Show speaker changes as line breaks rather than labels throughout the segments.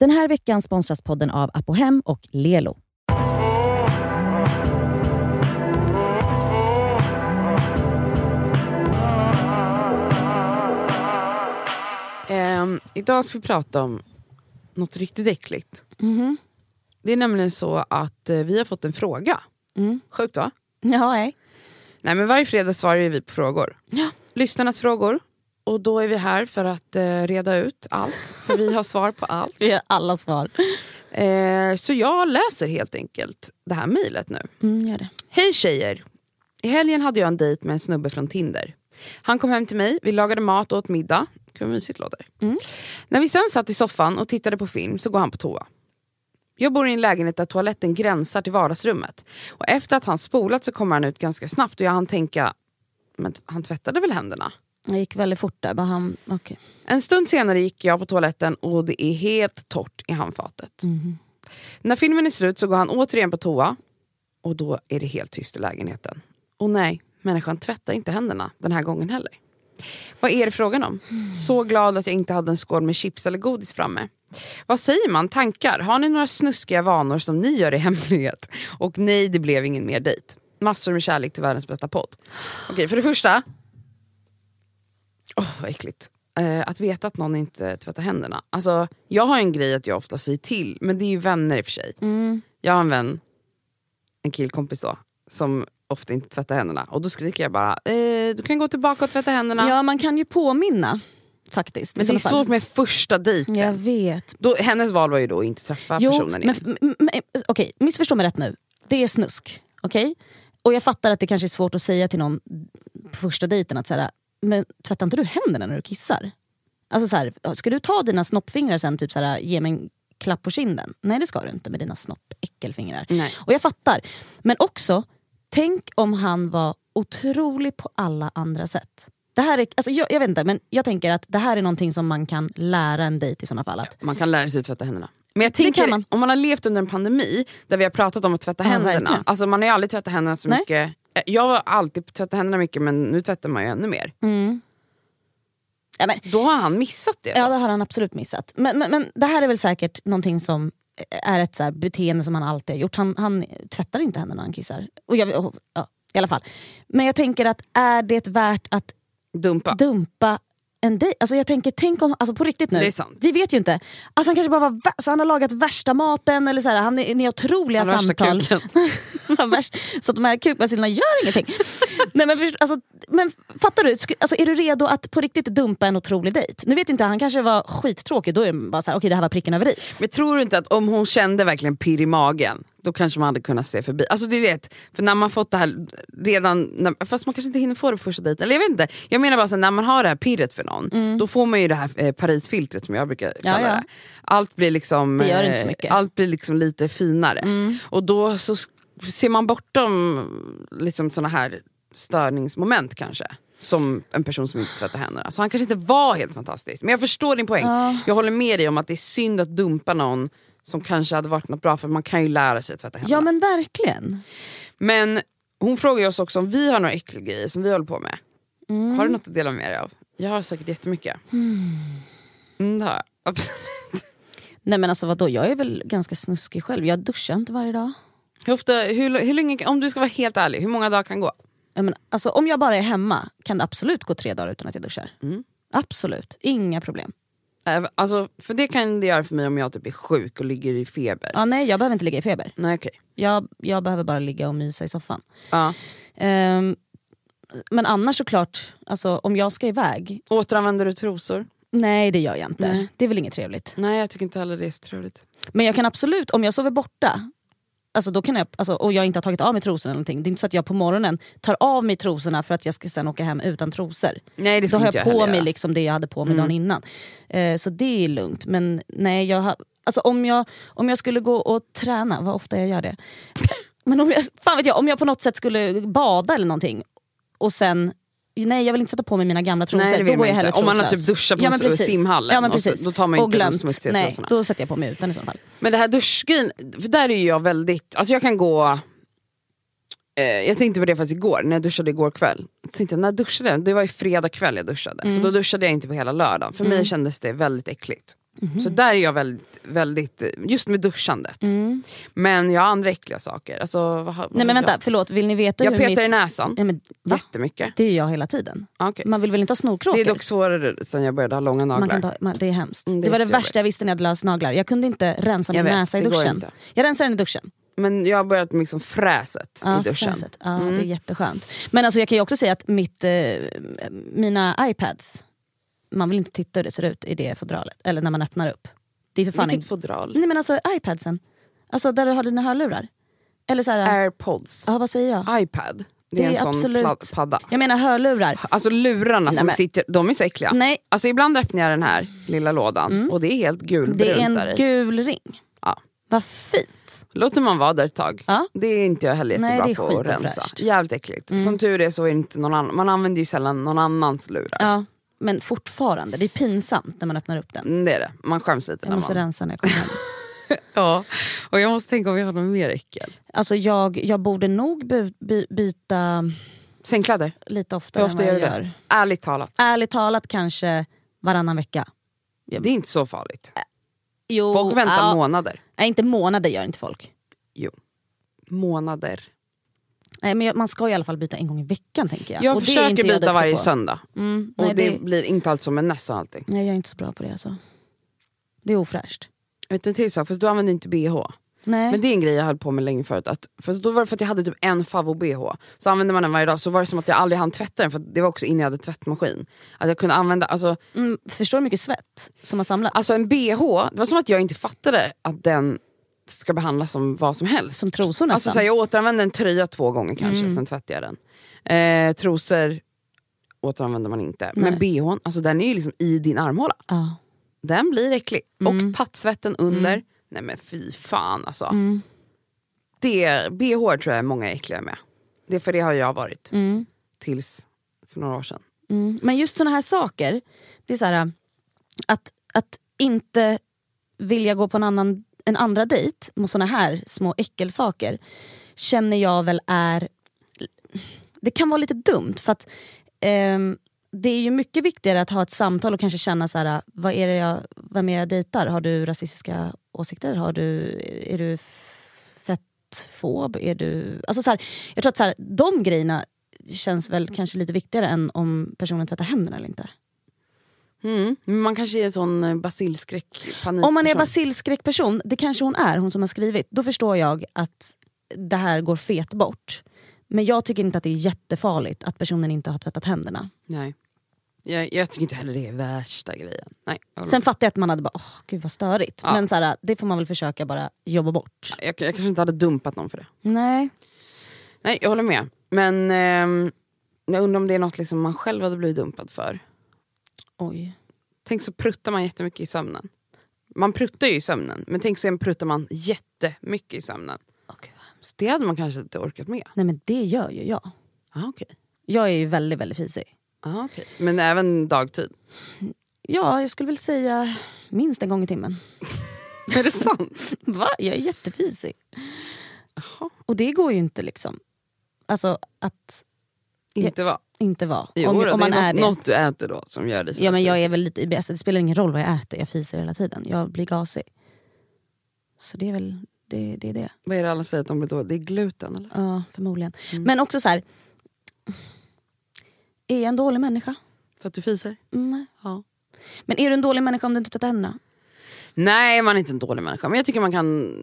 Den här veckan sponsras podden av Apohem och Lelo.
Ehm, idag ska vi prata om något riktigt äckligt. Det är nämligen så att eh, vi har fått en fråga.
Mm.
Sjukt va?
Ja, nej.
Nej men varje fredag svarar ju vi på frågor. Lyssnarnas frågor. Och då är vi här för att eh, reda ut allt. För vi har svar på allt.
Vi har alla svar.
Eh, så jag läser helt enkelt det här mejlet nu.
Mm, gör det.
Hej tjejer! I helgen hade jag en dejt med en snubbe från Tinder. Han kom hem till mig, vi lagade mat och åt middag. Gud vad mysigt det låter.
Mm.
När vi sen satt i soffan och tittade på film så går han på toa. Jag bor i en lägenhet där toaletten gränsar till vardagsrummet. Och efter att han spolat så kommer han ut ganska snabbt och jag hann tänka, men t- han tvättade väl händerna?
Det gick väldigt fort där. Bara han... okay.
En stund senare gick jag på toaletten och det är helt torrt i handfatet. När filmen är slut så går han återigen på toa och då är det helt tyst i lägenheten. Och nej, människan tvättar inte händerna den här gången heller. Vad är det frågan om? Så glad att jag inte hade en skål med chips eller godis framme. Vad säger man? Tankar? Har ni några snuskiga vanor som ni gör i hemlighet? Och nej, det blev ingen mer dejt. Massor med kärlek till världens bästa podd. Okej, för det första. Åh, vad äckligt. Eh, att veta att någon inte tvättar händerna. Alltså, jag har en grej att jag ofta säger till, men det är ju vänner i och för sig.
mm.
Jag har en vän, en killkompis då, som ofta inte tvättar händerna. Och då skriker jag bara, eh, du kan gå tillbaka och tvätta händerna.
Ja, man kan ju påminna faktiskt. i
men det är
sådana fall.
svårt med första dejten.
Jag vet.
Då, hennes val var ju då att inte träffa personen
men,
igen.
men, men, Okej, missförstå mig rätt nu. Det är snusk. Okej? Och jag fattar att det kanske är svårt att säga till någon på första dejten att så här, men tvättar inte du händerna när du kissar? Alltså så här, ska du ta dina snoppfingrar sen typ så här, ge mig en klapp på kinden? Nej det ska du inte med dina snoppäckelfingrar.
Nej.
Och jag fattar. Men också, tänk om han var otrolig på alla andra sätt. Det här är, alltså jag, jag vet inte, men jag tänker att det här är någonting som man kan lära en dejt i sådana fall. Att
Man kan lära sig att tvätta händerna. Men jag tänker,
kan man.
om man har levt under en pandemi där vi har pratat om att tvätta
Ja,
händerna.
verkligen.
Alltså man har ju aldrig tvättat händerna så
Nej.
mycket. Eh, Jag har alltid tvättat händerna mycket men nu tvättar man ju ännu mer.
Mm. ja, men,
Då har han missat det.
Ja det har han absolut missat. Men, men, men det här är väl säkert någonting som är ett så här beteende som han alltid har gjort. Han, han tvättar inte händerna när han kissar. Och jag, och, ja, i alla fall. Men jag tänker att är det värt att
Dumpa.
dumpa en dejt? Alltså jag tänker, tänk om, alltså på riktigt nu.
Det är sant.
Vi vet ju inte. Alltså han kanske bara var, vä- så han har lagat värsta maten, eller så här, han är ni har otroliga
Han har värsta
samtal.
kuken.
Han har värst- så att de här kukbasillerna gör ingenting. Nej, men, först, alltså, men fattar du, Sku- alltså, är du redo att på riktigt dumpa en otrolig dejt? Nu vet ju inte, han kanske var skittråkig, då är det bara så här, okej det här var pricken över i.
Men tror du inte att om hon kände verkligen pirr i magen, då kanske man hade kunnat se förbi. Alltså du vet, för när man fått det här redan, när, fast man kanske inte hinner få det på första dejten. Eller jag vet inte, jag menar bara så här, när man har det här pirret för någon, då får man ju det här eh, Parisfiltret som jag brukar kalla
Mm. ja.
det. Allt blir liksom
Det gör inte så
eh,
mycket.
Allt blir liksom lite finare.
Mm.
Och då så s- ser man bortom liksom såna här störningsmoment kanske. Som en person som inte tvättar händerna. Så han kanske inte var helt fantastisk. Men jag förstår din poäng. Jag håller med dig om att det är synd att dumpa någon som kanske hade varit något bra för man kan ju lära sig att tvätta händerna.
Ja men verkligen.
men... hon frågar ju oss också om vi har några äckliga grejer som vi håller på med.
Mm.
Har du något att dela med dig av? Jag har säkert jättemycket. Mm.
Hmm.
Mm, det har jag. Absolut.
Nej men alltså vadå, jag är väl ganska snuskig själv. Jag duschar inte varje dag.
Hur ofta, hur, hur länge, om du ska vara helt ärlig, hur många dagar kan gå?
Jag menar, alltså, om jag bara är hemma kan det absolut gå tre dagar utan att jag duschar.
Mm.
Absolut, inga problem.
Eh, Alltså, för det kan det göra för mig om jag typ är sjuk och ligger i feber.
Ja, nej, jag behöver inte ligga i feber.
Nej okej.
Jag, jag behöver bara ligga och mysa i soffan.
Ja.
Ehm, men annars såklart, alltså, om jag ska iväg,
Återanvänder du trosor?
nej det gör jag inte.
Nej.
Det är väl inget trevligt.
Nej jag tycker inte heller det är så trevligt.
Men jag kan absolut, om jag sover borta alltså då kan jag, alltså, och jag inte har tagit av mig trosorna eller någonting. Det är inte så att jag på morgonen tar av mig trosorna för att jag ska sen åka hem utan trosor.
Nej det
Då
skulle
har jag,
inte jag
på
heller
mig
göra.
liksom det jag hade på mig
Mm.
dagen innan. Eh, så det är lugnt. Men nej, jag har, alltså, om, jag, om jag skulle gå och träna, vad ofta jag gör det. Men om jag, fan vet jag, om jag på något sätt skulle bada eller någonting och sen Nej jag vill inte sätta på mig mina gamla liksom trosor,
Nej, det vill
då går
man
jag hellre
inte. Om man har typ
troslös.
duschat på
men
s-
precis.
simhallen
ja, men
och så-
precis.
då tar man
Och
inte de
glömt.
smutsiga
Nej,
trosorna.
Då sätter jag på mig utan i så fall.
Men det här duschgrejen, för där är ju jag väldigt, alltså jag kan gå eh, jag tänkte på det faktiskt igår, när jag duschade igår kväll. Jag tänkte, jag, när
Mm.
duschade jag? Det var ju fredag kväll jag duschade. Så då duschade jag inte på hela lördagen. För mig kändes det väldigt äckligt.
Mhm.
Så där är jag väldigt, väldigt, just med duschandet. Men jag har andra äckliga saker. Alltså, vad, har- vad
Mm. Nej
har
men vänta, förlåt. Vill ni veta
Jag, jag
hur
petar
mitt...
i näsan
Nej, men, va?
jättemycket.
Det är ju jag hela tiden.
Ah, okej.
Man vill väl inte ha snorkråkor?
Det är dock svårare sen jag började ha långa
man
naglar.
kan ta, man, det är hemskt.
Mm, det
det,
är
var det
jättejobbigt.
värsta jag visste när jag hade lösnaglar. Jag kunde inte rensa min
Jag vet,
näsa i
det går
duschen.
inte.
Jag rensar den i duschen.
Men jag har börjat med liksom fräset
Ja,
i duschen. Mm.
fräset. Ja, Det är jätteskönt. Men alltså, jag kan ju också säga att mitt, eh, mina iPads, man vill inte titta hur det ser ut i det fodralet. Eller när man öppnar upp. Det är för fan en...
Vilket fodral.
Nej men alltså iPadsen. Alltså där du har dina hörlurar. Eller så här,
Airpods.
ja vad säger jag?
iPad. Det,
Det
är en
är
sån
absolut-
pla- padda.
Jag menar hörlurar.
Alltså lurarna som
men-
sitter, de är så äckliga.
Nej, Mm.
Alltså ibland öppnar jag den här lilla lådan och det är helt gulbrunt
det är
där
en
i.
gul ring.
Ja.
Vad fint.
Låter man vara där ett tag.
Ja.
Det är inte jag heller
Nej,
jättebra
det är Mm.
på att
skit och
rensa.
fräscht.
Jävligt äckligt. Som tur är så är det inte någon annan, man använder ju sällan någon annans lurar.
Ja, men fortfarande, det är pinsamt när man öppnar upp den.
Mm, Det är det, man skäms lite
Jag
när
måste
man...
rensa när jag kommer hem.
Ja. Och jag måste tänka om vi har något mer äckel.
Alltså jag, jag borde nog by, by, byta
Sängkläder,
lite oftare
hur ofta
än
gör
vad
du
jag
det?
gör.
Ärligt talat,
Ärligt talat kanske varannan vecka.
det är inte så farligt.
Jo,
Folk väntar
Oh, ja,
månader.
Nej inte månader gör inte folk.
Månader.
Nej, men jag- man ska i alla fall byta en gång i veckan tänker jag.
Jag
Och det är
försöker
inte jag
byta
duktig
varje
på.
söndag.
Mm,
Och
nej,
det,
det,
blir inte allt som men nästan alltid.
nej jag är inte så bra på det alltså. Det är ofräscht.
Vet du en till sak? Fast du använder inte bh.
Nej.
Men det är en grej jag höll på med länge förut. Att, fast då var det för att jag hade typ en favvo-bh. Så använde man den varje dag, så var det som att jag aldrig hann tvätta den. För att det var också innan jag hade tvättmaskin. Att jag kunde använda, alltså,
mm, förstår du hur mycket svett som har samlats?
alltså en bh, det var som att jag inte fattade att den ska behandlas som vad som helst.
som trosor nästan. Mm.
Alltså, så här, jag återanvände en tröja två gånger kanske, sen tvättade jag den. Eh, trosor återanvänder man inte. Men bhn, alltså, den är ju liksom i din armhåla.
ja.
Den blir äcklig.
Mm.
Och pattsvetten under. Nej men fy fan alltså.
Mm,
Det, BH tror jag är många är äckliga med. Det, för det har jag varit. Tills för några år sedan.
Mm. Men just såna här saker, det är så här, att, att inte vilja gå på en, annan, en andra dejt med såna här små äckelsaker känner jag väl är... Det kan vara lite dumt för att ehm, det är ju mycket viktigare att ha ett samtal och kanske känna så här, vad är det jag, vem är jag dejtar? Har du rasistiska åsikter? Har du, är du fettfob? Är du, alltså så här, jag tror att så här, de grejerna känns väl kanske lite viktigare än om personen tvättar händerna eller inte.
Mm. Men man kanske är en sån eh, basilskräck panik
Om man är basilskräckperson, det kanske hon är, hon som har skrivit, då förstår jag att det här går fet bort. Men jag tycker inte att det är jättefarligt att personen inte har tvättat händerna.
Nej. Jag, jag tycker inte heller det är värsta grejen. Nej, jag håller
Sen fattar jag att man hade bara, åh gud vad störigt.
Ja.
Men så här, det får man väl försöka bara jobba bort.
med. jag, jag kanske inte hade dumpat någon för det.
Nej.
Nej, jag håller med. Men ehm, jag undrar om det är något liksom man själv hade blivit dumpad för.
Oj.
Tänk så pruttar man jättemycket i sömnen. Man pruttar ju i sömnen, men tänk sen pruttar man jättemycket i sömnen.
Åh, gud, vad hemskt.
Det hade man kanske inte orkat med.
Nej men det gör ju jag.
Ah, okay.
Jag är ju väldigt väldigt fisig.
Ah, okay. Men även dagtid.
Ja, jag skulle väl säga minst en gång i timmen.
Är det sant?
Va? Jag är jättefisig.
Jaha.
Och det går ju inte liksom. Alltså att
Inte va?
inte vara.
Jo,
om,
då,
om man
det är,
är, det.
något, något du äter då som gör dig så
ja, men jag
nervös.
är väl lite IBS, det spelar ingen roll vad jag äter, jag fiser hela tiden. Jag blir gasig. Så det är väl det. det, är det.
Vad är det alla säger att de blir dåliga? Det är gluten eller?
Ja, förmodligen.
Mm.
Men också så här. Är jag en dålig människa?
För att du fiser?
Mm.
Ja.
Men är du en dålig människa om du inte tvättar händerna?
Nej, man är inte en dålig människa. Men jag tycker man kan...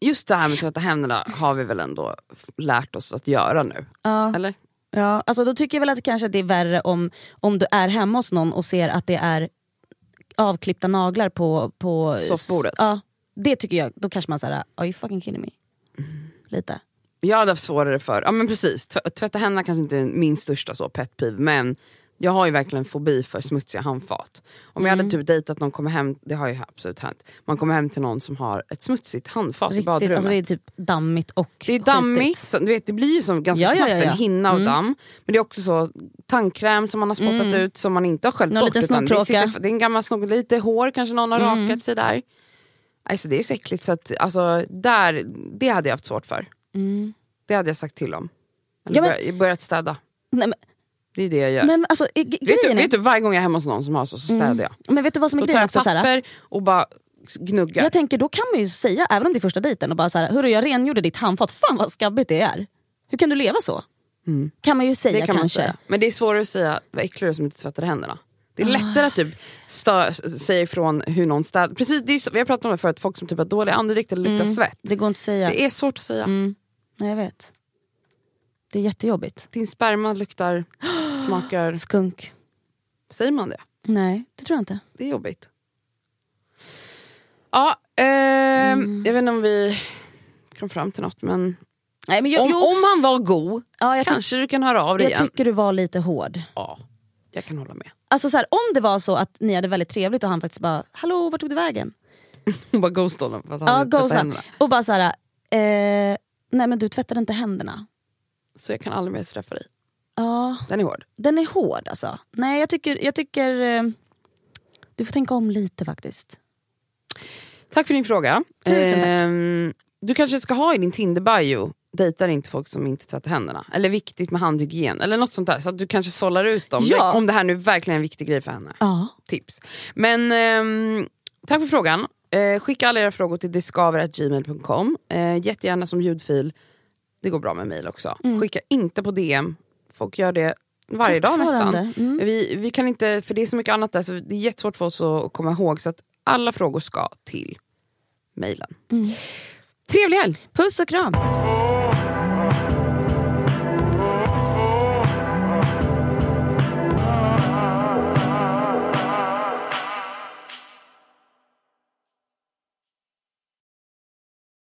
Just det här med att tvätta händerna har vi väl ändå f- lärt oss att göra nu?
Ja.
Eller?
ja. Alltså, då tycker jag väl att det kanske det är värre om, om du är hemma hos någon och ser att det är avklippta naglar på... på
Soffbordet.
Ja. Det tycker jag, då kanske man säger are you fucking kidding me?
Mm.
Lite.
Jag hade haft svårare för, ja men precis, Tv- tvätta händerna kanske inte är min största så pet peeve, men jag har ju verkligen fobi för smutsiga handfat. Om
Mm.
jag hade typ dejtat någon, kommer hem, det har ju absolut hänt, man kommer hem till någon som har ett smutsigt handfat i
Riktigt,
badrummet.
alltså det är typ dammigt och
det är dammigt, så, du vet, det blir ju som ganska
Ja, ja,
snabbt
ja, ja. Mm.
en hinna av damm. Men det är också så tandkräm som man har spottat ut som man inte har sköljt
Någon
bort.
liten
utan det,
snorkråka. Mm.
sitter, det är en gammal snog, lite hår kanske någon har rakat sig där. Alltså, det är så äckligt, så att, alltså, där, det hade jag haft svårt för. Det hade jag sagt till om. Eller
Mm. Ja, men-
börjat- börjat städa.
Nej, men,
Det är det jag gör.
Men alltså, eh, g-
vet, du,
grejen är- Mm.
vet du, varje gång jag är hemma hos någon som har så, så städar jag.
Men vet du vad som är
Då tar
grejen
jag
också? Så här,
papper och bara gnuggar.
Jag tänker då kan man ju säga, även om det är första dejten, och bara så här, hörru jag rengjorde ditt handfat, fan vad skabbigt det är. Hur kan du leva så?
Mm.
Kan man ju säga
det kan man
kanske.
säga. Men det är svårare att säga, vad äcklig du är som inte tvättar händerna. Det är lättare att typ stö, säga ifrån hur någon städar. Precis, det är, så- vi har pratat om det förut, folk som typ har dålig andedräkt eller luktar svett.
Det går inte att säga.
Det är svårt att
Mm.
säga.
Nej jag vet. Det är jättejobbigt.
Din sperma luktar, smakar...
Skunk.
Säger man det?
Nej det tror jag inte.
Det är jobbigt. Ja, eh, jag vet inte om vi kom fram till något men...
Nej, men jag,
Om,
jo,
om han var god,
ja, jag, ty-
kanske du kan höra av dig
jag
igen.
tycker du var lite hård.
Ja, jag kan hålla med.
Alltså så här, om det var så att ni hade väldigt trevligt och han faktiskt bara, hallå vart tog du vägen?
Hon bara ghostade honom för att han
Ja,
hade tvättat
ghost
händerna.
Och bara så här, eh, nej men du tvättade inte händerna.
Så jag kan aldrig mer träffa dig.
Ja,
Den är hård.
den är hård alltså. Nej jag tycker, jag tycker eh, du får tänka om lite faktiskt.
Tack för din fråga.
Tusen tack.
Ehm, du kanske ska ha i din Tinder-bio, dejtar inte folk som inte tvättar händerna. Eller viktigt med handhygien. Eller något sånt där. Så att du kanske sållar ut dem.
Ja.
Om det här nu verkligen är en viktig grej för henne.
Ja.
Tips. Men ehm, tack för frågan. Eh, skicka alla era frågor till discover.gmail.com. Eh, jättegärna som ljudfil. Det går bra med mejl också.
Mm.
Skicka inte på DM. Folk gör det varje dag nästan.
Fortfarande. Mm.
Vi, vi kan inte, för det är så mycket annat där så det är jättesvårt för oss att komma ihåg. Så att alla frågor ska till mejlen. Trevlig helg!
Mm. Puss och kram!
Åh,